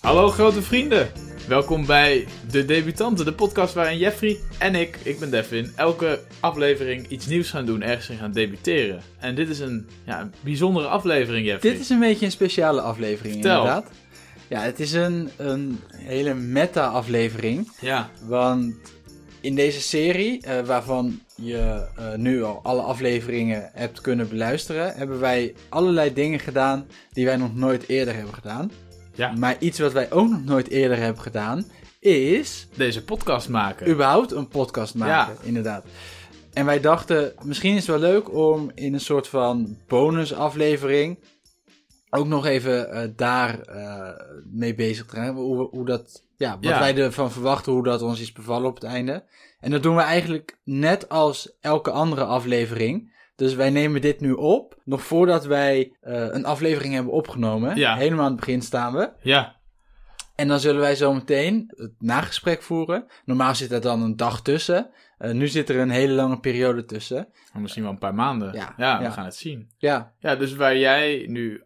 Hallo grote vrienden. Welkom bij De Debutanten, de podcast waarin Jeffrey en ik, ik ben Devin, elke aflevering iets nieuws gaan doen, ergens in gaan debuteren. En dit is een, ja, een bijzondere aflevering, Jeffrey. Dit is een beetje een speciale aflevering, Vertel. inderdaad. Ja, het is een, een hele meta-aflevering. Ja, Want in deze serie, eh, waarvan je eh, nu al alle afleveringen hebt kunnen beluisteren, hebben wij allerlei dingen gedaan die wij nog nooit eerder hebben gedaan. Ja. Maar iets wat wij ook nog nooit eerder hebben gedaan, is deze podcast maken. überhaupt een podcast maken, inderdaad. En wij dachten, misschien is het wel leuk om in een soort van bonusaflevering ook nog even eh, daar eh, mee bezig te gaan. Hoe, hoe dat, ja, wat Ja. wij ervan verwachten, hoe dat ons is bevallen op het einde. En dat doen we eigenlijk net als elke andere aflevering. Dus wij nemen dit nu op, nog voordat wij eh, een aflevering hebben opgenomen. Ja. Helemaal aan het begin staan we. Ja, En dan zullen wij zometeen het nagesprek voeren. Normaal zit er dan een dag tussen. Eh, nu zit er een hele lange periode tussen. misschien wel een paar maanden. Ja, we ja. gaan het zien. Ja, Ja, dus waar jij nu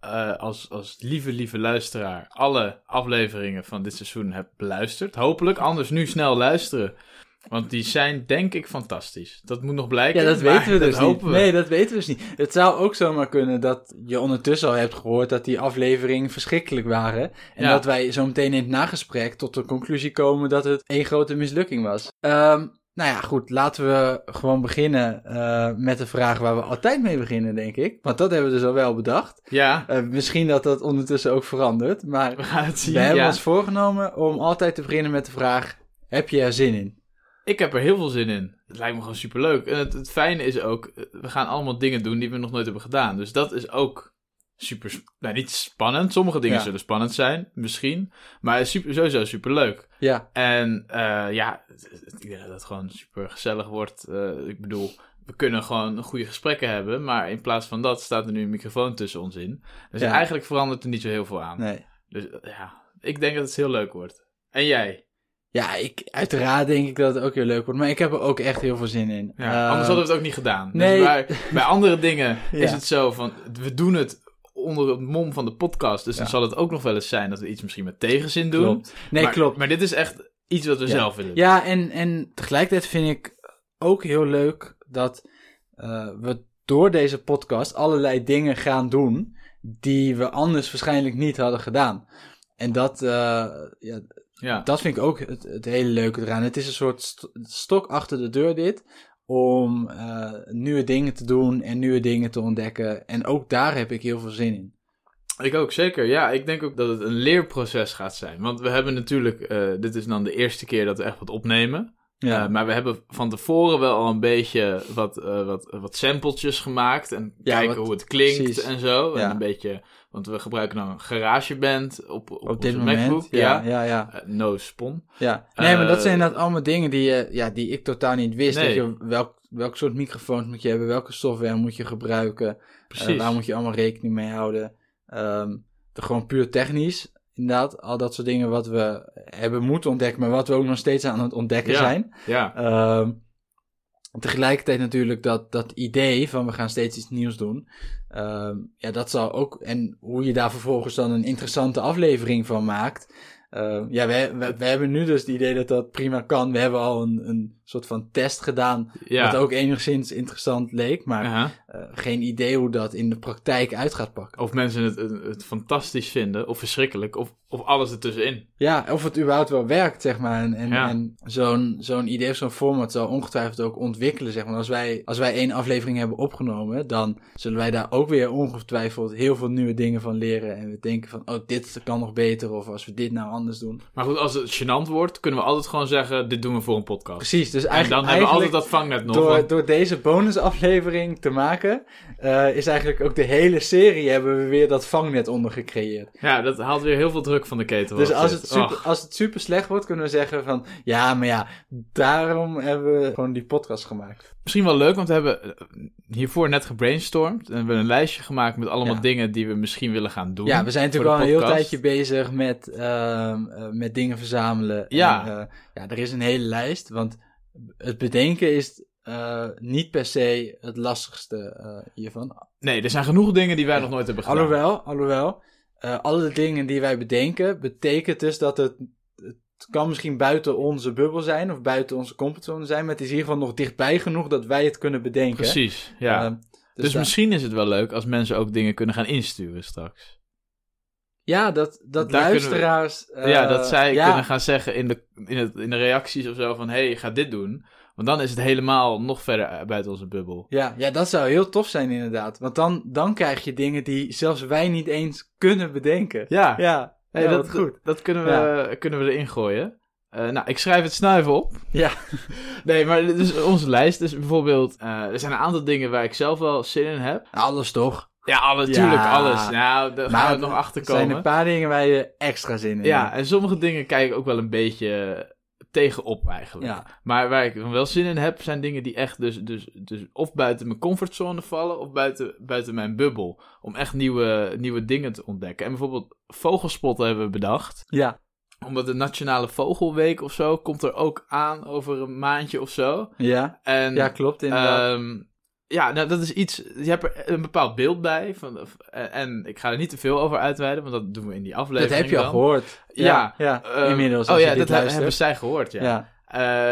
eh, als, als lieve, lieve luisteraar alle afleveringen van dit seizoen hebt beluisterd. Hopelijk, anders nu snel luisteren. Want die zijn denk ik fantastisch. Dat moet nog blijken. ja dat maar weten we dat dus niet. hopen we. Nee, dat weten we dus niet. Het zou ook zomaar kunnen dat je ondertussen al hebt gehoord dat die afleveringen verschrikkelijk waren. En Ja. dat wij zometeen in het nagesprek tot de conclusie komen dat het één grote mislukking was. Ehm, nou ja, goed. Laten we gewoon beginnen eh, met de vraag waar we altijd mee beginnen, denk ik. Want dat hebben we dus al wel bedacht. Ja, Eh, misschien dat dat ondertussen ook verandert, maar we gaan het zien. we hebben ja. ons voorgenomen om altijd te beginnen met de vraag: heb je er zin in? Ik heb er heel veel zin in. Het lijkt me gewoon superleuk. En het, het fijne is ook, eh, we gaan allemaal dingen doen die we nog nooit hebben gedaan. Dus dat is ook super, sp- nou niet spannend. Sommige dingen Ja. zullen spannend zijn, misschien. Maar het is super, sowieso superleuk. Ja, En eh, ja, het- het- ik denk dat het gewoon super gezellig wordt. Eh, ik bedoel, we kunnen gewoon goede gesprekken hebben. Maar in plaats van dat staat er nu een microfoon tussen ons in. Dus Ja. eigenlijk verandert er niet zo heel veel aan. nee. Dus eh, ja, ik denk dat het heel leuk wordt. En jij? Ja, ik, uiteraard denk ik dat het ook heel leuk wordt, maar ik heb er ook echt heel veel zin in. Ja, Eh, anders hadden we het ook niet gedaan. nee. Dus bij, bij andere dingen Ja. is het zo van, we doen het onder het mom van de podcast. Dus dan Ja. zal het ook nog wel eens zijn dat we iets misschien met tegenzin doen. Klopt. Nee, maar, klopt. Maar dit is echt iets wat we zelf willen doen. Ja, en, en tegelijkertijd vind ik ook heel leuk dat eh, we door deze podcast allerlei dingen gaan doen die we anders waarschijnlijk niet hadden gedaan. En dat, eh, ja, Ja. Dat vind ik ook het, het hele leuke eraan. Het is een soort st- stok achter de deur dit. Om eh, nieuwe dingen te doen en nieuwe dingen te ontdekken. En ook daar heb ik heel veel zin in. Ik ook, zeker. Ja, ik denk ook dat het een leerproces gaat zijn. Want we hebben natuurlijk, eh, dit is dan de eerste keer dat we echt wat opnemen. Eh, maar we hebben van tevoren wel al een beetje wat, eh, wat, wat sampletjes gemaakt. En Ja, kijken wat- hoe het klinkt precies. en zo. En Ja. een beetje, want we gebruiken dan een garageband op, op, op dit onze moment. MacBook. ja, ja, ja, Eh, no spon. ja. Nee, maar dat Eh, zijn inderdaad allemaal dingen die, je- ja, die ik totaal niet wist. Nee. Dat je welk, welk soort microfoons moet je hebben, welke software moet je gebruiken. eh, Precies. waar moet je allemaal rekening mee houden. Ehm, de- gewoon puur technisch. Inderdaad, al dat soort dingen wat we hebben moeten ontdekken, maar wat we ook nog steeds aan het ontdekken Ja. zijn. Ja, Ehm, tegelijkertijd natuurlijk dat, dat idee van we gaan steeds iets nieuws doen. Ehm, ja, dat zal ook. En hoe je daar vervolgens dan een interessante aflevering van maakt. Ehm, ja, we, we, we hebben nu dus het idee dat dat prima kan. We hebben al een, een soort van test gedaan. ja. Uh-huh. Wat ook enigszins interessant leek. Maar Aha. eh, geen idee hoe dat in de praktijk uit gaat pakken. Of mensen het, het, het fantastisch vinden, of verschrikkelijk, of, of alles ertussenin. Ja, of het überhaupt wel werkt, zeg maar. En, en, Ja. en zo'n zo'n idee of zo'n format zal ongetwijfeld ook ontwikkelen, zeg maar. Als wij, als wij één aflevering hebben opgenomen, dan zullen wij daar ook weer ongetwijfeld heel veel nieuwe dingen van leren. En we denken van, oh, dit kan nog beter. Of als we dit nou anders doen. Maar goed, als het gênant wordt, kunnen we altijd gewoon zeggen, dit doen we voor een podcast. Precies, dus En eigenlijk... dan hebben we altijd eigenlijk dat vangnet nog. Door, want- door deze bonusaflevering te maken, eh, is eigenlijk ook de hele serie hebben we weer dat vangnet onder gecreëerd. Ja, dat haalt weer heel veel druk van de ketel. Dus af, als dit. het, super, Och, als het super slecht wordt, kunnen we zeggen van... Ja, maar ja, daarom hebben we gewoon die podcast gemaakt. misschien wel leuk, want we hebben eh, hiervoor net gebrainstormd. En we hebben een lijstje gemaakt met allemaal Ja. dingen die we misschien willen gaan doen. Ja, we zijn natuurlijk voor al de een heel podcast. tijdje bezig met, ehm, eh, met dingen verzamelen. Ja. En, eh, ja, er is een hele lijst, want het bedenken is eh, niet per se het lastigste eh, hiervan. Nee, er zijn genoeg dingen die wij nog nooit hebben gedaan. Alhoewel, alhoewel... eh, alle dingen die wij bedenken, betekent dus dat het, het kan misschien buiten onze bubbel zijn of buiten onze comfortzone zijn, maar het is in ieder geval nog dichtbij genoeg dat wij het kunnen bedenken. Precies, ja. Ehm, dus da- misschien is het wel leuk als mensen ook dingen kunnen gaan insturen straks. ja, dat, dat daar kunnen we- luisteraars. ja, eh, dat zij ja, kunnen gaan zeggen in de, in, het, in de reacties of zo van... hé, hey, ga dit doen. Want dan is het helemaal nog verder eh, buiten onze bubbel. Ja, ja, dat zou heel tof zijn inderdaad. Want dan, dan krijg je dingen die zelfs wij niet eens kunnen bedenken. Ja, Ja, hey, ja, dat, wat goed. dat kunnen, we, kunnen we erin gooien. Eh, nou, ik schrijf het snuiven op. Ja. Nee, maar dit is onze lijst. Dus bijvoorbeeld, eh, er zijn een aantal dingen waar ik zelf wel zin in heb. Alles toch? Ja, alle, Ja. tuurlijk, alles. Nou, daar gaan we nog achter Er zijn een komen. paar dingen waar je extra zin in Ja, hebt. en sommige dingen kijk ik ook wel een beetje tegenop eigenlijk. Ja. Maar waar ik dan wel zin in heb, zijn dingen die echt dus, dus, dus of buiten mijn comfortzone vallen of buiten, buiten mijn bubbel. Om echt nieuwe, nieuwe dingen te ontdekken. En bijvoorbeeld vogelspotten hebben we bedacht. Ja, Omdat de Nationale Vogelweek of zo komt er ook aan over een maandje of zo. ja, En ja klopt inderdaad. Ehm, ja, nou, dat is iets. Je hebt er een bepaald beeld bij. Van, of- en- en ik ga er niet te veel over uitweiden, want dat doen we in die dat aflevering. heb je al dan. gehoord. Ja, ja, Ehm, inmiddels. Oh als ja, je dit dat he- luistert. hebben zij gehoord, ja. ja.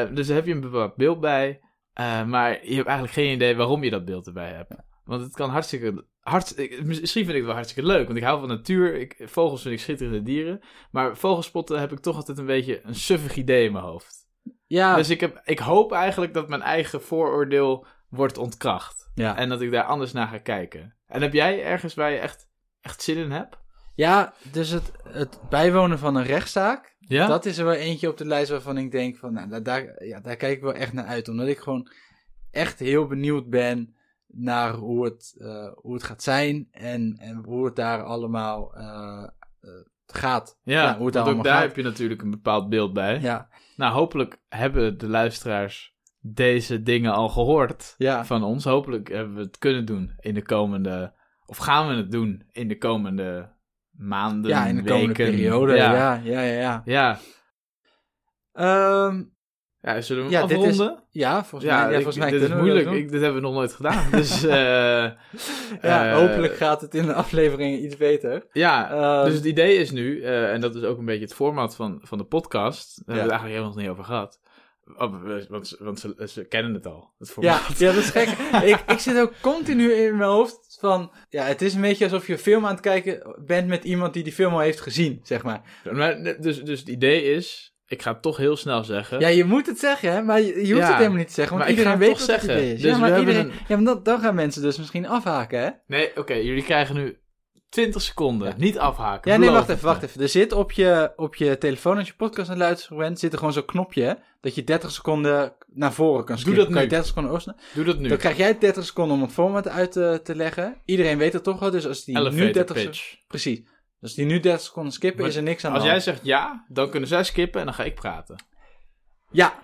Eh, dus daar heb je een bepaald beeld bij. eh, maar je hebt eigenlijk geen idee waarom je dat beeld erbij hebt. Want het kan hartstikke. Hart, ik- misschien vind ik het wel hartstikke leuk, want ik hou van natuur. Ik, vogels vind ik schitterende dieren. Maar vogelspotten heb ik toch altijd een beetje een suffig idee in mijn hoofd. Ja, Dus ik, heb, ik hoop eigenlijk dat mijn eigen vooroordeel wordt ontkracht. ja. En dat ik daar anders naar ga kijken. En heb jij ergens waar je echt, echt zin in hebt? ja, dus het, het bijwonen van een rechtszaak, Ja? dat is er wel eentje op de lijst waarvan ik denk van, nou, daar, daar, ja, daar kijk ik wel echt naar uit. Omdat ik gewoon echt heel benieuwd ben naar hoe het, eh, hoe het gaat zijn en, en hoe het daar allemaal eh, eh, gaat. ja, hoe het want allemaal ook daar gaat. heb je natuurlijk een bepaald beeld bij. Ja, Nou, hopelijk hebben de luisteraars deze dingen al gehoord ja. van ons. Hopelijk hebben we het kunnen doen in de komende... Of gaan we het doen in de komende maanden, ja in de komende weken. periode. Ja, ja. Ja, ja, ja. ja. ja. Ehm, Ja, zullen we Ja, hem dit is- afronden? ja, volgens ja, mij, ja, ik- volgens mij dit is kunnen we dat moeilijk. doen. Ik, dit hebben we nog nooit gedaan. Dus eh, Ja, eh, hopelijk gaat het in de afleveringen iets beter. Ja, Ehm, dus het idee is nu, eh, en dat is ook een beetje het format van, van de podcast, daar hebben we het eigenlijk helemaal nog niet over gehad. Oh, we- want ze- want ze, ze kennen het al, het ja, formaat. ja, dat is gek. ik, ik zit ook continu in mijn hoofd van... Ja, het is een beetje alsof je een film aan het kijken bent met iemand die die film al heeft gezien, zeg maar. Maar, ne- dus, dus het idee is, ik ga het toch heel snel zeggen. Ja, je moet het zeggen, hè, maar je, je hoeft Ja, het helemaal niet te zeggen. Want maar ik ga iedereen het weet toch wat het zeggen. idee is. Dus ja, we maar hebben iedereen, ja, maar dan, dan gaan mensen dus misschien afhaken, hè? Nee, oké, jullie krijgen nu 20 seconden, Ja. niet afhaken. Ja, nee, beloof wacht het even, wacht me. even. Er zit op je, op je telefoon, als je podcast aan het luisteren bent, zit er gewoon zo'n knopje... hè, dat je 30 seconden naar voren kan skippen. dat Dan kan je nu. 30 seconden oorslaan. Doe dat nu. Dan krijg jij 30 seconden om het format uit eh, te, te leggen. Iedereen weet het toch wel, dus als die nu 30 Elevator seconden... pitch. Precies. Dus die nu 30 seconden skippen, Maar is er niks aan Als de jij hand. zegt ja, dan kunnen zij skippen en dan ga ik praten. Ja,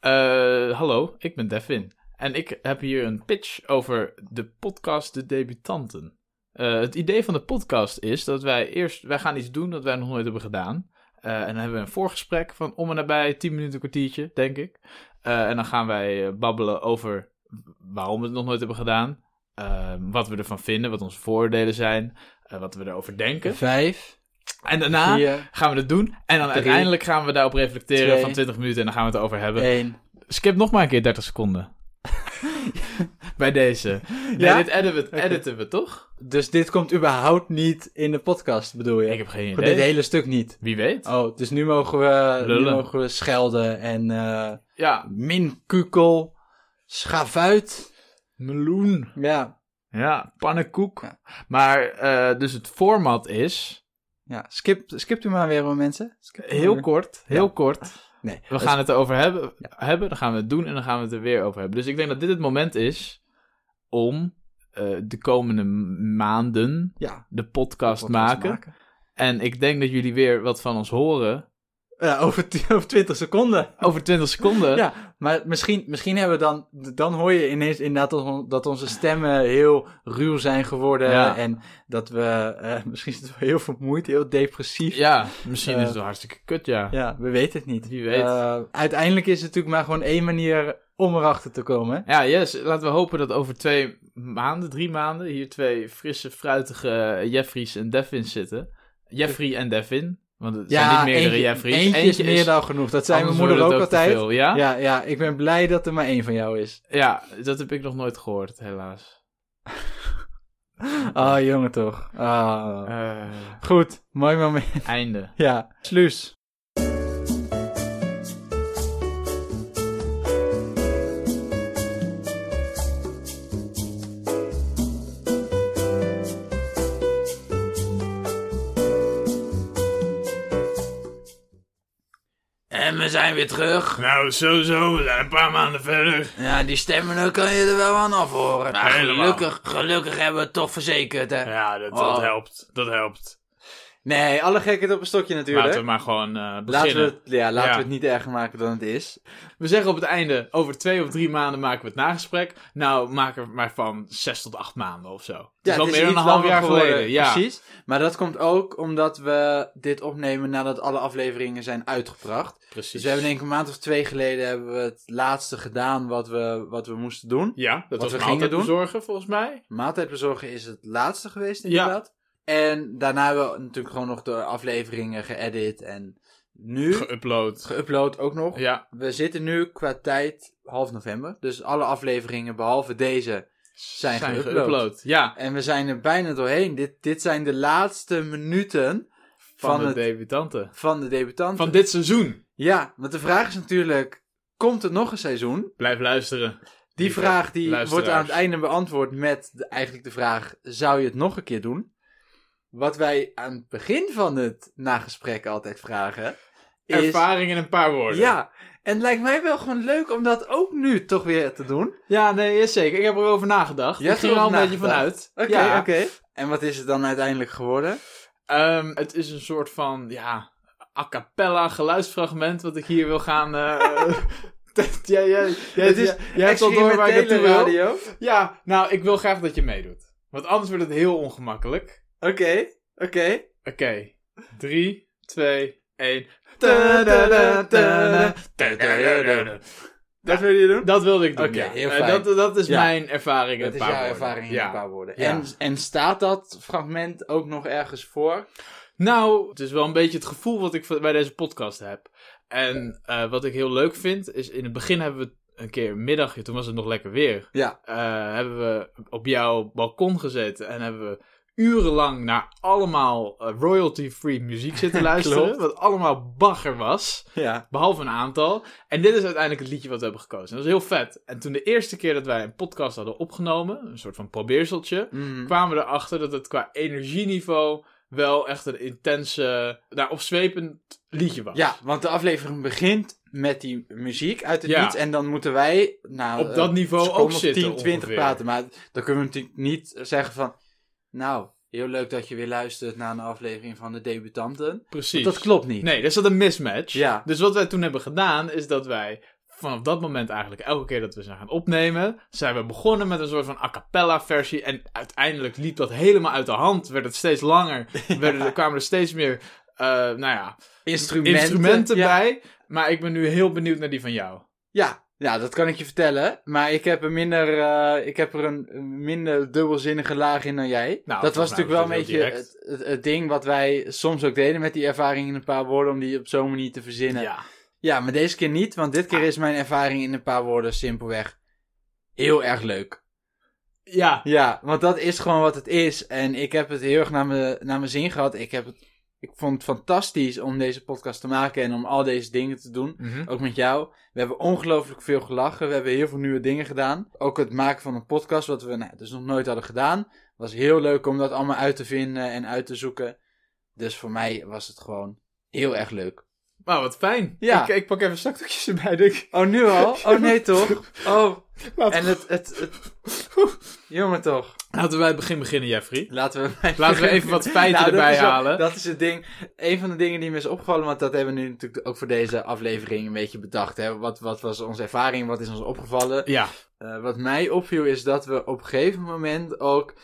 Eh, hallo, ik ben Devin. En ik heb hier een pitch over de podcast De Debutanten. Eh, het idee van de podcast is dat wij eerst... Wij gaan iets doen dat wij nog nooit hebben gedaan. Eh, en dan hebben we een voorgesprek van om en nabij 10 minuten, een kwartiertje, denk ik. Eh, en dan gaan wij eh, babbelen over waarom we het nog nooit hebben gedaan. eh, wat we ervan vinden, wat onze voordelen zijn. eh, wat we erover denken. vijf, En daarna vier, gaan we dat doen. En dan Drie. uiteindelijk gaan we daarop reflecteren Twee. van 20 minuten. En dan gaan we het erover hebben. één. Skip nog maar een keer 30 seconden. Bij deze. Nee, Ja? dit editen we, editen we toch? Dus dit komt überhaupt niet in de podcast, bedoel je? Ik heb geen Gewoon dit idee. hele stuk niet. Wie weet. Oh, dus nu mogen we, nu Lullen. mogen we schelden en eh Ja. minkukel, schavuit. Meloen. Ja, Ja, pannenkoek. Ja. Maar, eh, dus het format is, ja. Skip, skipt u maar weer, hoor, mensen. Skipt u maar heel weer. kort, heel kort. Nee, We gaan het erover hebben, hebben, dan gaan we het doen en dan gaan we het er weer over hebben. Dus ik denk dat dit het moment is om eh, de komende m- maanden ja, de podcast, podcast maken. En ik denk dat jullie weer wat van ons horen Ja, over, t- over 20 seconden. over 20 seconden. Ja, maar misschien, misschien hebben we dan, dan hoor je ineens inderdaad dat on- dat onze stemmen heel ruw zijn geworden. Ja. En dat we, eh, misschien zitten we heel vermoeid, heel depressief. Ja, Ja, misschien Eh, is het wel hartstikke kut, ja. Ja, we weten het niet. Wie weet. Eh, uiteindelijk is het natuurlijk maar gewoon één manier om erachter te komen. yes. Laten we hopen dat over twee maanden, drie maanden, hier twee frisse, fruitige Jeffries en Devins zitten. Jeffrey en Devin. Want het Ja, zijn niet meerdere eentje- Jeffrey's. Eentje, is meer dan genoeg. Dat zei mijn anders moeder wordt ook, het te altijd. veel, Ja? Ja. Ja, ja, ik ben blij dat er maar één van jou is. dat heb ik nog nooit gehoord, helaas. Ah, jongen toch. Ah. Eh, Goed, mooi moment. einde. Ja, sluis. En we zijn weer terug. Nou, sowieso, we zijn een paar maanden verder. Ja, die stemmen daar kan je er wel aan afhoren. Maar helemaal. gelukkig, gelukkig hebben we het toch verzekerd, hè? Ja, dat, dat helpt. Dat helpt. Nee, alle gekheid op een stokje natuurlijk. Laten we maar gewoon eh, Laten we, beginnen. het, ja, laten Ja. we het niet erger maken dan het is. We zeggen op het einde, over twee of drie maanden maken we het nagesprek. Nou, maak er maar van zes tot acht maanden of zo. Ja, dat is al het meer dan iets een half langer jaar geworden, geleden. Ja. Precies. Maar dat komt ook omdat we dit opnemen nadat alle afleveringen zijn uitgebracht. precies. Dus we hebben denk ik een maand of twee geleden hebben we het laatste gedaan wat we, wat we moesten doen. Ja, dat was we we gingen altijd doen. bezorgen volgens mij. Maaltijd bezorgen is het laatste geweest Ja. inderdaad. En daarna hebben we natuurlijk gewoon nog de afleveringen geëdit en nu Geüpload. geüpload ook nog. Ja, We zitten nu qua tijd half november. Dus alle afleveringen behalve deze zijn, zijn geüpload. geüpload. Ja, En we zijn er bijna doorheen. Dit, dit zijn de laatste minuten van, Van de het- debutanten. van de debutanten. Van dit seizoen. Ja, want de vraag is natuurlijk, komt er nog een seizoen? Blijf luisteren. Die Lieve vraag die luisteraars. wordt aan het einde beantwoord met de- eigenlijk de vraag, zou je het nog een keer doen? Wat wij aan het begin van het nagesprek altijd vragen is... Ervaring in een paar woorden. Ja, en het lijkt mij wel gewoon leuk om dat ook nu toch weer te doen. ja, nee, is zeker. Ik heb erover nagedacht. Je Ik hebt ging er al een erover beetje van uit. Oké, ja. oké. En wat is het dan uiteindelijk geworden? Ehm, het is een soort van, ja, a cappella geluidsfragment wat ik hier wil gaan... eh, dat- jij- jij- jij- Het is jij- jij hebt al door waar ik naartoe Experimentele wil. radio. Ja, nou, ik wil graag dat je meedoet. Want anders wordt het heel ongemakkelijk. Oké, oké. Oké, drie, twee, één. Dat wil je doen? Dat wilde ik doen, Oké, ja. heel Eh, fijn. dat, dat is Ja. mijn ervaring in Dat een is paar jouw woorden. ervaring in Ja. een paar woorden. Ja. En, en staat dat fragment ook nog ergens voor? Nou, het is wel een beetje het gevoel wat ik v- bij deze podcast heb. En eh, wat ik heel leuk vind, is in het begin hebben we een keer een middagje, toen was het nog lekker weer. Ja. eh, hebben we op jouw balkon gezeten en hebben we urenlang naar allemaal eh, royalty-free muziek zitten luisteren. Klopt. wat allemaal bagger was. Ja. Behalve een aantal. En dit is uiteindelijk het liedje wat we hebben gekozen. En dat is heel vet. En toen de eerste keer dat wij een podcast hadden opgenomen, een soort van Mhm. probeerseltje, Mm. kwamen we erachter dat het qua energieniveau wel echt een intense, nou, opzwepend liedje was. Ja, want de aflevering begint met die muziek uit het Ja. niets. En dan moeten wij... Nou, Op dat eh, niveau seconden ook of zitten 10, 20 ongeveer. praten. Maar dan kunnen we natuurlijk niet zeggen van... Nou, heel leuk dat je weer luistert naar een aflevering van de debutanten. Precies. Dat klopt niet. Nee, er zat een mismatch. Ja. Dus wat wij toen hebben gedaan, is dat wij vanaf dat moment eigenlijk elke keer dat we zijn gaan opnemen, zijn we begonnen met een soort van a cappella versie. En uiteindelijk liep dat helemaal uit de hand. Werd het steeds langer. Werden, er kwamen er steeds meer, eh, nou ja, Instrumenten. instrumenten ja. bij. Maar ik ben nu heel benieuwd naar die van jou. Ja, ja, dat kan ik je vertellen. Maar ik heb er minder, eh, ik heb er een, een minder dubbelzinnige laag in dan jij. Nou, dat was volgens mij natuurlijk wel een was het beetje heel het, het, het ding wat wij soms ook deden met die ervaring in een paar woorden. Om die op zo'n manier te verzinnen. Ja. Ja. Ah. maar deze keer niet. Want dit keer is mijn ervaring in een paar woorden simpelweg heel erg leuk. Ja. Ja, want dat is gewoon wat het is. En ik heb het heel erg naar mijn naar mijn zin gehad. Ik, heb het, ik vond het fantastisch om deze podcast te maken en om al deze dingen te doen. Ook met jou. We hebben ongelooflijk veel gelachen. We hebben heel veel nieuwe dingen gedaan. Ook het maken van een podcast, wat we nou, dus nog nooit hadden gedaan. Was heel leuk om dat allemaal uit te vinden en uit te zoeken. Dus voor mij was het gewoon heel erg leuk. Nou, wat fijn. Ja. Ik, ik pak even zakdoekjes erbij, denk ik. Oh, nu al? Oh, nee toch? Oh, Laten, en het... het, het... Jongen toch. laten we bij het begin beginnen, Jeffrey. Laten we... Laten we even wat feiten Nou, dat erbij is wel- halen. Dat is het ding. Een van de dingen die me is opgevallen, want dat hebben we nu natuurlijk ook voor deze aflevering een beetje bedacht. Hè? Wat, wat was onze ervaring? Wat is ons opgevallen? Ja. Eh, wat mij opviel is dat we op een gegeven moment ook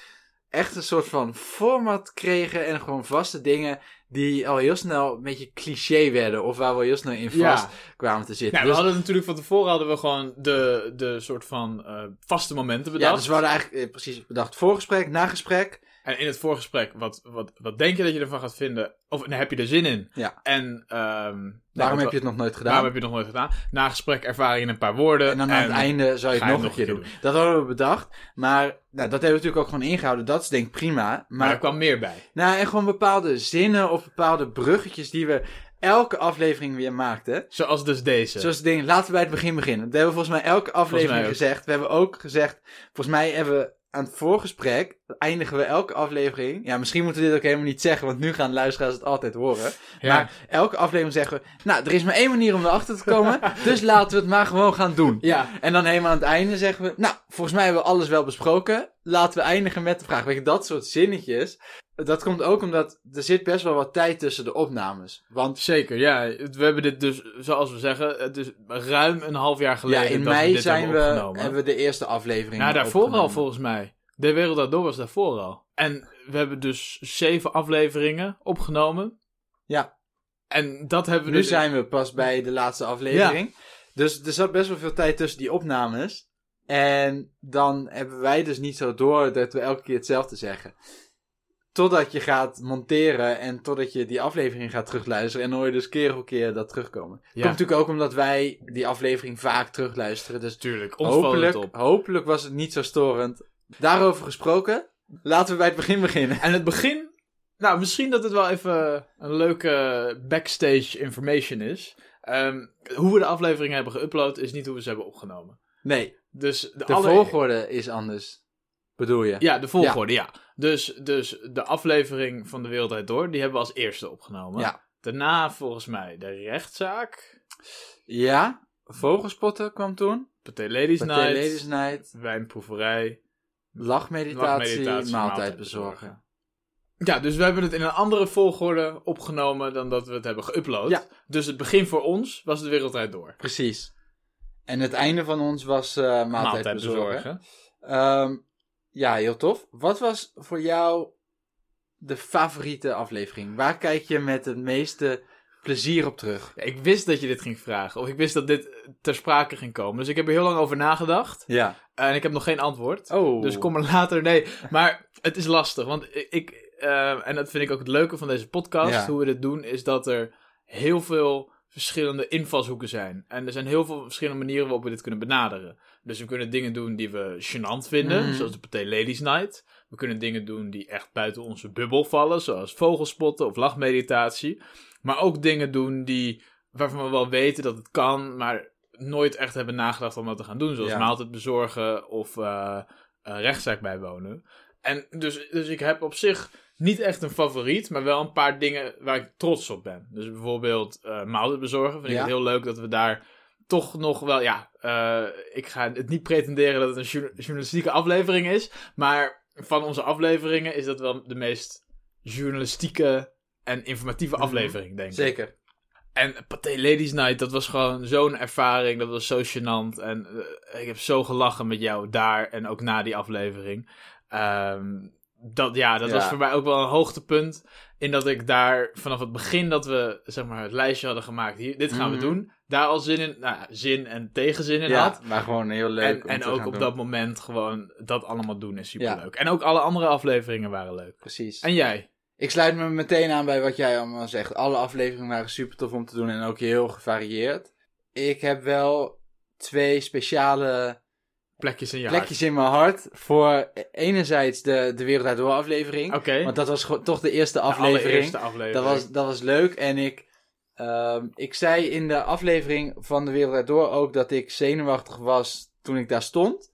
echt een soort van format kregen en gewoon vaste dingen die al heel snel een beetje cliché werden of waar we al heel snel in vast Ja. kwamen te zitten. Nou, we dus, hadden natuurlijk van tevoren hadden we gewoon de, de soort van eh, vaste momenten ja, bedacht. dus we hadden eigenlijk eh, precies bedacht voorgesprek, nagesprek En in het voorgesprek, wat, wat, wat denk je dat je ervan gaat vinden? Of nee, heb je er zin in? Ja. En ehm, Daarom nou, heb je het nog nooit gedaan. Waarom heb je het nog nooit gedaan? Na gesprek ervaring in een paar woorden. En dan aan het einde zou je ga het nog een keer doen. Dat hadden we bedacht. Maar nou, dat hebben we natuurlijk ook gewoon ingehouden. Dat is denk ik prima. Maar er Maar kwam meer bij. nou, en gewoon bepaalde zinnen of bepaalde bruggetjes die we elke aflevering weer maakten. Zoals dus deze. Zoals ik denk, laten we bij het begin beginnen. Dat hebben we volgens mij elke aflevering ook. gezegd. We hebben ook gezegd, volgens mij hebben we aan het voorgesprek, eindigen we elke aflevering. Ja, misschien moeten we dit ook helemaal niet zeggen, want nu gaan luisteraars het altijd horen. Ja. Maar elke aflevering zeggen we, nou, er is maar één manier om erachter te komen. dus laten we het maar gewoon gaan doen. ja. En dan helemaal aan het einde zeggen we, nou, volgens mij hebben we alles wel besproken. Laten we eindigen met de vraag. Weet je, dat soort zinnetjes. Dat komt ook omdat er zit best wel wat tijd tussen de opnames. Want Zeker, ja. Het- We hebben dit dus, zoals we zeggen, het is ruim een half jaar ja, geleden in dat we mei dit zijn we, hebben opgenomen. hebben we de eerste aflevering Nou, daarvoor al opgenomen. volgens mij. De Wereld Daardoor was daarvoor al. En we hebben dus zeven afleveringen opgenomen. Ja. En dat hebben we Nu dus... zijn we pas bij de laatste aflevering. Dus er zat best wel veel tijd tussen die opnames. En dan hebben wij dus niet zo door dat we elke keer hetzelfde zeggen. Totdat je gaat monteren en totdat je die aflevering gaat terugluisteren. En dan hoor je dus keer op keer dat terugkomen. Ja. Komt natuurlijk ook omdat wij die aflevering vaak terugluisteren. Dus Natuurlijk, ons valt het hopelijk, op. hopelijk was het niet zo storend. Daarover gesproken, laten we bij het begin beginnen. En het begin... Nou, misschien dat het wel even een leuke backstage information is. Ehm, hoe we de afleveringen hebben geüpload is niet hoe we ze hebben opgenomen. Nee, Dus de, de alle- volgorde is anders. Bedoel je? Ja, de volgorde, ja. Dus, dus de aflevering van De Wereld Draait Door, die hebben we als eerste opgenomen. Ja. Daarna volgens mij de rechtszaak. Ja, Vogelspotten kwam toen. Pathé Ladies Pathé Night. Ladies Night. Wijnproeverij. Lachmeditatie, Lachmeditatie, maaltijd maaltijd bezorgen. Ja, dus we hebben het in een andere volgorde opgenomen dan dat we het hebben geüpload. Ja. Dus het begin voor ons was de wereld Draait door. Precies. En het einde van ons was eh maaltijd, bezorgen. Ehm, ja, heel tof. Wat was voor jou de favoriete aflevering? Waar kijk je met het meeste plezier op terug? Ja, Ik wist dat je dit ging vragen. Of ik wist dat dit eh, ter sprake ging komen. Dus ik heb er heel lang over nagedacht. Ja. En ik heb nog geen antwoord. Oh. Dus kom maar later. Nee, maar het is lastig. Want ik, ik, eh, en dat vind ik ook het leuke van deze podcast, Ja. hoe we dit doen, is dat er heel veel verschillende invalshoeken zijn. En er zijn heel veel verschillende manieren waarop we dit kunnen benaderen. Dus we kunnen dingen doen die we gênant vinden, Mhm. zoals de Pathé Ladies Night. We kunnen dingen doen die echt buiten onze bubbel vallen, zoals vogelspotten of lachmeditatie. Maar ook dingen doen die, waarvan we wel weten dat het kan, maar nooit echt hebben nagedacht om dat te gaan doen. Zoals Ja. maaltijd bezorgen of eh, een rechtszaak bijwonen. En dus, dus ik heb op zich niet echt een favoriet, maar wel een paar dingen waar ik trots op ben. Dus bijvoorbeeld eh maaltijd bezorgen. Vind Ja. ik het heel leuk dat we daar toch nog wel, ja, eh, ik ga het niet pretenderen dat het een journa- journalistieke aflevering is, maar van onze afleveringen is dat wel de meest journalistieke en informatieve Mhm. aflevering, denk ik. Zeker. En Pathé Ladies Night, dat was gewoon zo'n ervaring. Dat was zo gênant. En eh, ik heb zo gelachen met jou daar en ook na die aflevering. Ehm, dat, ja, dat Ja. was voor mij ook wel een hoogtepunt. In dat ik daar vanaf het begin dat we zeg maar, het lijstje hadden gemaakt. Hier, dit gaan Mhm. we doen. Daar al zin in, nou, ja, zin en tegenzin in had. Ja, maar gewoon heel leuk. en om en te ook gaan op doen. dat moment gewoon dat allemaal doen is superleuk. En ook alle andere afleveringen waren leuk. Precies. En jij? Ik sluit me meteen aan bij wat jij allemaal zegt. Alle afleveringen waren super tof om te doen en ook heel gevarieerd. Ik heb wel twee speciale Plekjes in je plekjes in mijn hart. Voor e-, enerzijds de, de Wereld Draait Door aflevering. hart. Oké. Want dat was gewoon toch de eerste De aflevering. allereerste aflevering. dat, was, dat was leuk. En ik, ehm, ik zei in de aflevering van de Wereld Draait Door ook dat ik zenuwachtig was toen ik daar stond.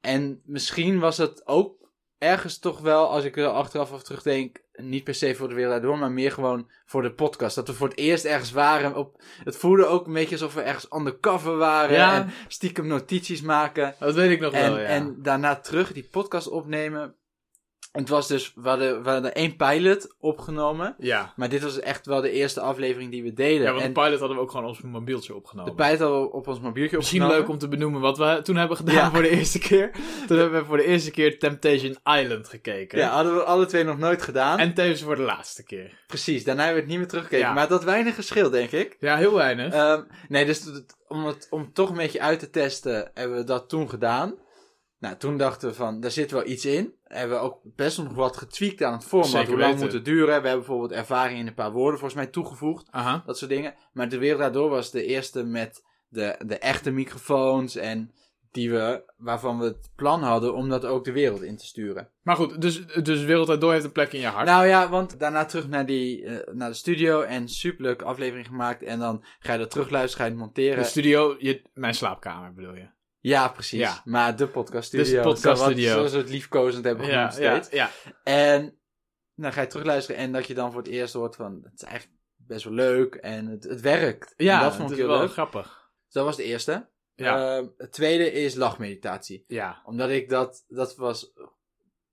En misschien was het ook ergens toch wel, als ik er achteraf over terugdenk, niet per se voor de Wereld Draait Door, maar meer gewoon voor de podcast. Dat we voor het eerst ergens waren. Op, het voelde ook een beetje alsof we ergens undercover waren. Ja. En stiekem notities maken. Dat weet ik nog En, wel, ja. en daarna terug die podcast opnemen. Het was dus, we hadden, we hadden één pilot opgenomen. ja. Maar dit was echt wel de eerste aflevering die we deden. Ja, want en de pilot hadden we ook gewoon op mijn mobieltje opgenomen. de pilot hadden we op ons mobieltje Misschien opgenomen. leuk om te benoemen wat we toen hebben gedaan Ja. voor de eerste keer. Toen hebben we voor de eerste keer Temptation Island gekeken. Ja, hadden we alle twee nog nooit gedaan. En tevens voor de laatste keer. Precies, daarna hebben we het niet meer teruggekeken. Ja. Maar dat weinig verschil, denk ik. Ja, heel Eh. weinig. Ehm, nee, dus t- t- om het om het toch een beetje uit te testen, hebben we dat toen gedaan. Nou, toen dachten we van, daar zit wel iets in. Hebben we ook best nog wat getweakt aan het format. Zeker hoe lang weten. moet het duren? We hebben bijvoorbeeld ervaring in een paar woorden volgens mij toegevoegd. Aha. Dat soort dingen. Maar de wereld daardoor was de eerste met de, de echte microfoons en die we, waarvan we het plan hadden om dat ook de wereld in te sturen. Maar goed, dus, dus Wereld Draait Door heeft een plek in je hart. Nou ja, want daarna terug naar, die, eh, naar de studio en superleuke aflevering gemaakt. En dan ga je dat terugluisteren, ga je het monteren. de studio, je, mijn slaapkamer bedoel je. ja, precies. Ja. Maar de podcaststudio. Dus de podcaststudio. Zoals we het liefkozend hebben genoemd Ja, ja, steeds. ja. En dan ga je terugluisteren en dat je dan voor het eerst hoort van... Het is eigenlijk best wel leuk en het, het werkt. En ja dat het vond ik is heel wel leuk. grappig. Dus dat was de eerste. Ja, Ehm, het tweede is lachmeditatie. ja. Omdat ik dat, dat was